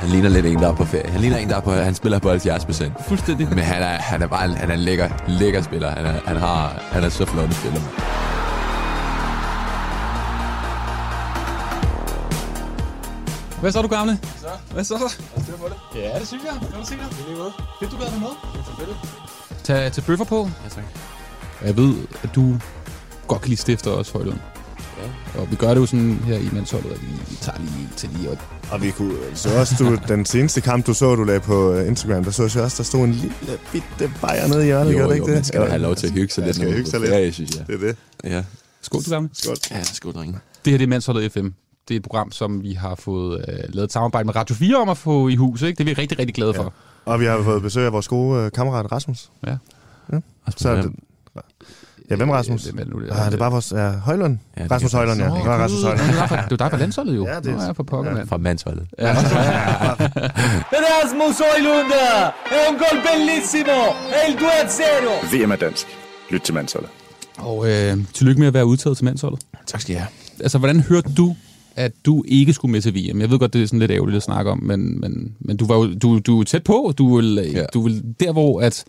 Han ligner lidt en, der er på ferie. Han ligner en, der er på, han spiller på 70 procent. Fuldstændig. Men han er, han er bare en, han er en lækker, lækker spiller. Han er, han har, han er så flot en spiller. Hvad så, du gamle? Så, Hvad så? lad os køre på det. Ja, det synes jeg. Hvad du sikker? I lige måde. Fedt, du gad dig med. Det er selvfølgelig. Tag, tag bøffer på. Ja, tak. Jeg ved, at du godt kan lide stifter også, Højlund. Ja. Og vi gør det jo sådan her i mandsholdet, at vi tager lige til lige og... Og vi kunne... øh, Så også du, den seneste kamp, du så, du lagde på øh, Instagram, der så jeg også, der stod en lille bitte bajer nede i hjørnet, Jo, gør det jo, ikke det? man skal da Eller- have lov til at hygge sig Ja, lidt. skal når man hygge er sig på lidt. ferie, synes jeg. Det er det. Ja. Skål, du gamle. Skål. Ja, skål, drenge. Det her det er Mandsholdet FM. Det er et program, som vi har fået øh, lavet et samarbejde med Radio 4 om at få i hus. Ikke? Det er vi rigtig, rigtig glade ja. for. Og vi har fået besøg af vores gode øh, kammerat Rasmus. Ja. Så er det, ja, hvem Rasmus? Øh, hvem er det nu, det er? Ah, det er bare vores ja, Højlund. Ja, det Rasmus kan- Højlund, ja. Nå, Det var Rasmus Gud, Højlund. Det var for- det var dig på landsholdet jo. Ja, det er- Nå, jeg er for pokker, ja. mand. Fra mandsholdet. Ja. Rasmus Højlund er un gol bellissimo, è il 2-0. VM er dansk. Lyt til mandsholdet. Og øh, tillykke med at være udtaget til mandsholdet. Tak skal I have. Altså, hvordan hørte du, at du ikke skulle med til VM? Jeg ved godt, det er sådan lidt ærgerligt at snakke om, men, men, men du var jo du, du er jo tæt på. Du er ja. Ja. du er der, hvor at,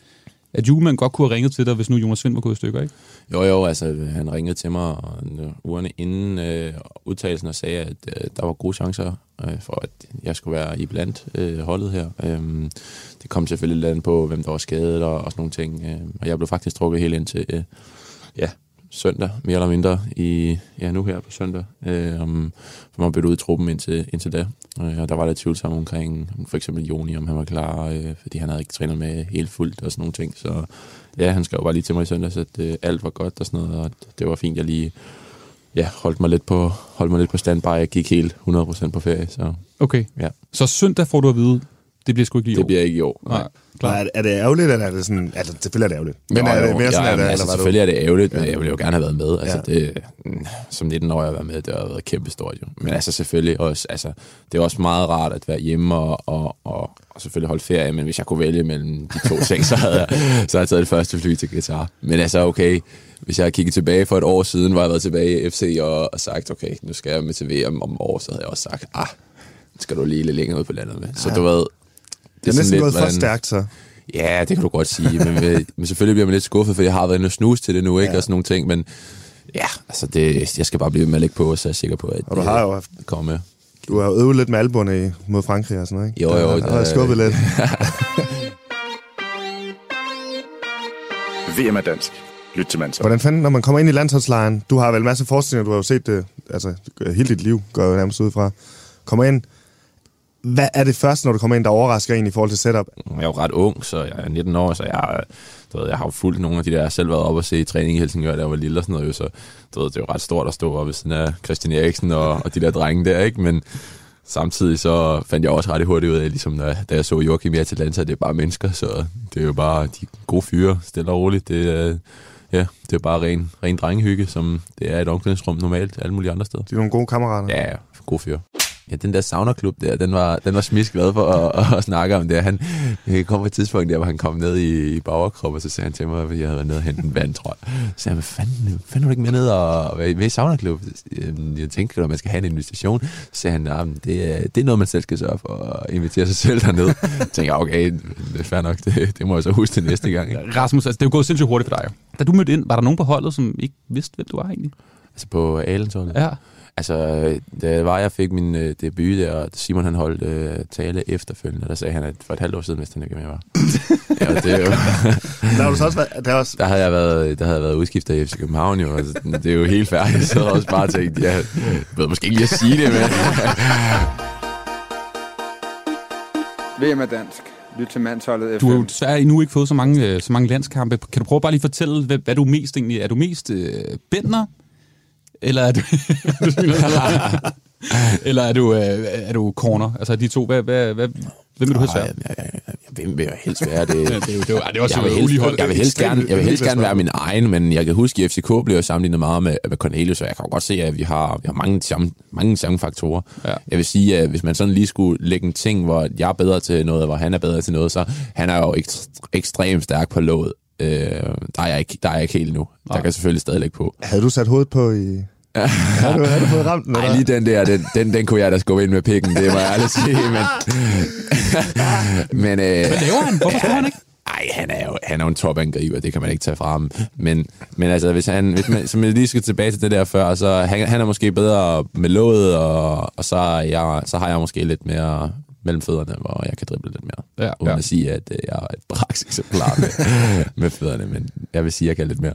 at Julemand godt kunne have ringet til dig, hvis nu Jonas Vind var gået i stykker, ikke? Jo, jo, altså han ringede til mig og, en- ugerne inden øh, udtalelsen og sagde, at øh, der var gode chancer øh, for, at jeg skulle være i blandt øh, holdet her. Øhm, det kom selvfølgelig lidt an på, hvem der var skadet og, og sådan nogle ting. Øh, og jeg blev faktisk trukket helt ind til øh, ja, søndag, mere eller mindre, i, ja, nu her på søndag, øh, om, for man bytte ud i truppen indtil, indtil da. Øh, og der var lidt tvivl sammen omkring, for eksempel Joni, om han var klar, øh, fordi han havde ikke trænet med helt fuldt og sådan nogle ting. Så ja, han skrev bare lige til mig i søndags, at øh, alt var godt og sådan noget, og det var fint, jeg lige ja, holdt mig lidt på, holdt mig lidt på standby. Jeg gik helt 100% på ferie, så Okay. ja, Så søndag får du at vide, det bliver sgu ikke lige i år. det bliver ikke i år. Nej, Og klar. Er, er det ærgerligt, eller er det sådan... Altså, selvfølgelig er det ærgerligt. Men er det mere sådan, ja, at, men altså, eller var selvfølgelig du... er det ærgerligt, men jeg ville jo gerne have været med. Altså, Ja. ja. det, mm, som 19-årig at være med, det har været kæmpestort jo. Men altså selvfølgelig også, altså, det er også meget rart at være hjemme og, og, og, og selvfølgelig holde ferie, men hvis jeg kunne vælge mellem de to ting, så havde jeg, så havde jeg taget det første fly til Qatar. Men altså okay, hvis jeg havde kigget tilbage for et år siden, hvor jeg havde været tilbage i FC og, og sagt, okay, nu skal jeg med til VM om et år, så havde jeg også sagt, ah, skal du lige lidt længere ud på landet med. Så du ved, Det er sådan næsten lidt, gået for hvordan- stærkt, så. Ja, det kan du godt sige, men, øh, men selvfølgelig bliver man lidt skuffet, for jeg har været inde og snuse til det nu, ikke, ja. og sådan nogle ting, men ja, altså det, jeg skal bare blive ved med at lægge på, så er jeg sikker på, at Og du har jo haft- det kommer med. Du har jo øvet lidt med albuerne i- mod Frankrig og sådan noget, ikke? Jo, jo, Der, der, der der- skubbet lidt. VM er dansk. Lyt til mandsholdet. Hvordan fanden, når man kommer ind i landsholdslejren, du har vel masser af forestillinger, du har jo set det altså, hele dit liv, går jeg jo nærmest ud fra. Kommer ind, hvad er det første, når du kommer ind, der overrasker en i forhold til setup? Jeg er jo ret ung, så jeg er 19 år, så jeg, øh, du ved, jeg har jo fulgt nogle af de der, jeg har selv været op og se i træning i Helsingør, da jeg var lille og sådan noget, jo, så du ved, det er jo ret stort at stå op ved siden af Christian Eriksen og, og de der drenge der, ikke? men samtidig så fandt jeg også ret hurtigt ud af, ligesom da, da jeg så Joachim i Atalanta, det er bare mennesker, så det er jo bare de gode fyre, stille og roligt, det er, ja, det er bare ren, ren drengehygge, som det er i et omklædningsrum normalt, alle mulige andre steder. De er nogle gode kammerater. Ja, ja, god fyr. Ja, den der saunaklub der, den var, den var smisk glad for at, at, at snakke om det. Han øh, kom på et tidspunkt der, hvor han kom ned i, i bagerkrop, og så sagde han til mig, at jeg havde været nede og hente en vand, tror jeg. Så sagde jeg, hvad fanden, hvad fanden er du ikke med ned og være i- med i saunaklub? Øhm, Jeg tænkte, at man skal have en invitation. Så sagde han, nah, det, er- det er noget, man selv skal sørge for at invitere sig selv derned. Så tænkte jeg, okay, det er fair nok, det, det må jeg så huske til næste gang. Ikke? Rasmus, altså, det er jo gået sindssygt hurtigt for dig. jo. Da du mødte ind, var der nogen på holdet, som ikke vidste, hvem du var egentlig? Altså på Alentollet. Ja. Altså, øh, da jeg var, jeg fik min øh, debut der, og Simon han holdt øh, tale efterfølgende, der sagde han, at for et halvt år siden vidste han ikke, hvem jeg var. ja, og Altså, det, er jo- Der har du så også været, der er også, der, havde jeg været, der havde jeg været udskifter i FC København jo, og det er jo helt færdigt. Jeg sad også bare og tænkte, jeg ved måske ikke lige at sige det, men VM er dansk. Lyt til mandsholdet Du har jo FM. desværre endnu ikke fået så mange, øh, så mange landskampe. Kan du prøve bare lige at fortælle, hvad, hvad du er mest egentlig? Er du mest øh, bender? Eller er du... eller er du, øh, er du corner? Altså de to, hvad, hvad, hvad, hvem vil du helst Ej, være? jeg, jeg, jeg, jeg, hvem vil jeg helst være? Det, Ja, det er jo- det er jo- ej, det er også jeg et vil ulige helst, hold. jeg vil helst Det er gerne, jeg vil helst gerne ekstremt være min egen, men jeg kan huske, at i FCK blev jeg sammenlignet meget med, med Cornelius, og jeg kan jo godt se, at vi har, vi har mange, samme, mange samme faktorer. Ja. Jeg vil sige, at hvis man sådan lige skulle lægge en ting, hvor jeg er bedre til noget, og hvor han er bedre til noget, så han er jo ekst, ekstremt stærk på låget. Øh, der, er jeg ikke, der er jeg ikke helt nu. Der kan jeg selvfølgelig stadig lægge på. havde du sat hovedet på i, Har du, har du fået ramt den? Nej, eller? lige den der, den, den, den kunne jeg da skubbe ind med pikken, det må jeg aldrig sige, men... men øh, Hvad laver han? Hvorfor står han ikke? Ej, han er jo, han er jo en topangriber, det kan man ikke tage fra ham. Men, men altså, hvis han, hvis man, som jeg lige skal tilbage til det der før, så han, han er måske bedre med låget, og, og så, er jeg, så har jeg måske lidt mere mellem fødderne, hvor jeg kan drible lidt mere. Ja. Uden Ja. at sige, at øh, jeg er et braks eksemplar med, med fødderne, men jeg vil sige, at jeg kan lidt mere.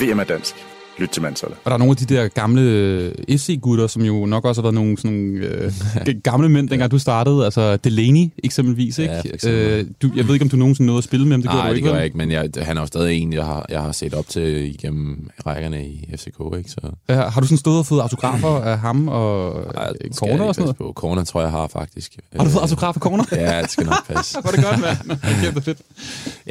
VM er dansk. Lyt til Mansolle. Og der er nogle af de der gamle FC-gutter, som jo nok også har været nogle, sådan nogle øh, g- gamle mænd, dengang du startede. Altså Delaney eksempelvis, ikke? Ja, for eksempel. Øh, du, jeg ved ikke, om du nogensinde nåede at spille med ham. Det gjorde Nej, du det ikke, gør vel? jeg ikke, men jeg, han er jo stadig en, jeg har, jeg har set op til igennem rækkerne i FCK, ikke? Så, Ja, Øh, har du sådan stået og fået autografer af ham og Ej, øh, skal jeg Corner ikke og sådan noget? passe På. Corner tror jeg, jeg har faktisk. Har du fået Øh, autografer af Corner? Ja, det skal nok passe. Var det godt, mand? Kæft, det er fedt.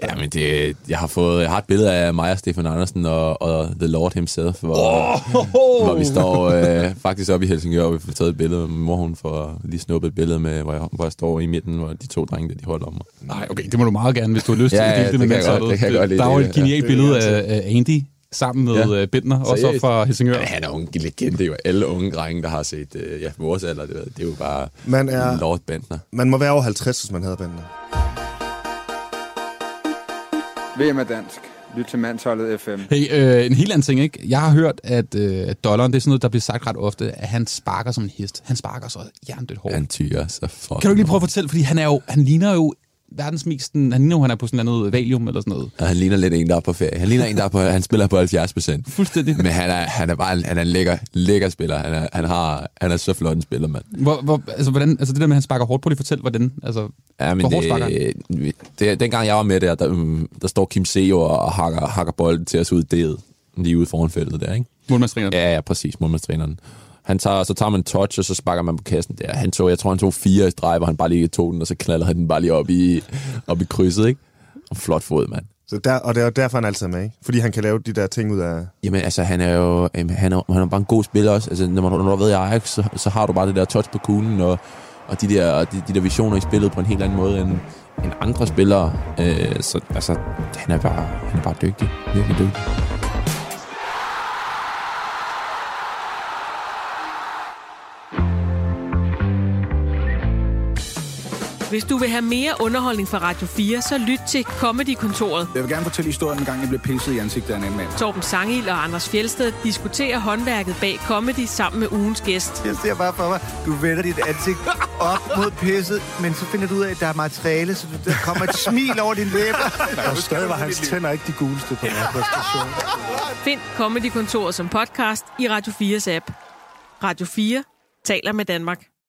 Ja, men det, jeg har fået jeg har et billede af mig og Stefan Andersen og, og The Lord himself, hvor, oh! hvor vi står øh, faktisk oppe i Helsingør, og vi får taget et billede med mor, hun får lige snuppet et billede med, hvor jeg, hvor jeg står i midten, hvor de to drenge, der, de holder om mig. Nej, okay, det må du meget gerne, hvis du har lyst Ja, til at ja, dele det, det med kan jeg mandsholdet. godt- det kan jeg godt lide, Der er jo det et der. genialt billede af, af Andy sammen med Ja. ja. Bentner, også op Seriøst? fra Helsingør. Ja, han er jo en legende, jo. Alle unge drenge, der har set øh, ja, vores alder, det, ved jeg, det er jo bare Man er- Lord Bentner. Man må være over 50, hvis man havde banden. VM er dansk. Lyt til Mandsholdet FM. Hey, øh, en helt anden ting, ikke? Jeg har hørt, at øh, dollaren, det er sådan noget, der bliver sagt ret ofte, at han sparker som en hest. Han sparker så jerndødt hårdt. Han tyrer så fucking Kan du ikke lige prøve at fortælle, fordi han, er jo, han ligner jo verdens mest, den- han ligner jo, han er på sådan noget valium eller sådan noget. Og han ligner lidt en, der er på ferie. Han ligner en, der er på, han spiller på 70 procent. Fuldstændig. Men han er, han er bare en, han er en lækker, lækker spiller. Han er, han, har, han er så flot en spiller, mand. Hvor, hvor, altså, hvordan, altså det der med, at han sparker hårdt, prøv lige at fortælle, hvordan, altså, Ja, men hvor hårdt sparker han? det, det, dengang jeg var med der, der, mm, der står Kim Seo og og hakker, hakker bolden til os ud i D'et, lige ude foran feltet der, ikke? Målmandstræneren. Ja, ja, præcis, målmandstræneren. Han tager, så tager man en touch, og så sparker man på kassen der. Han tog, jeg tror, han tog fire i streg, hvor han bare lige tog den, og så knalder han den bare lige op i, op i krydset, ikke? Og flot fod, mand. Så der, og det er jo derfor, han altid er med, ikke? Fordi han kan lave de der ting ud af... Jamen, altså, han er jo jamen, han er, han er bare en god spiller også. Altså, når, man, når du har været i Ajax, så, så har du bare det der touch på kuglen, og, og de, der, de, de der visioner i spillet på en helt anden måde end, end andre spillere. Øh, så altså, han er bare, han er bare dygtig. Virkelig dygtig. Hvis du vil have mere underholdning fra Radio 4, så lyt til Comedy-kontoret. Jeg vil gerne fortælle historien, en gang jeg blev pisset i ansigtet af en anden mand. Torben Sangil og Anders Fjelsted diskuterer håndværket bag comedy sammen med ugens gæst. Jeg ser bare for mig, du vender dit ansigt op mod pisset, men så finder du ud af, at der er materiale, så der kommer et smil over dine læber. Og stadig var hans tænder ikke de guleste på den her præstation. Find Comedy-kontoret som podcast i Radio 4's app. Radio 4 taler med Danmark.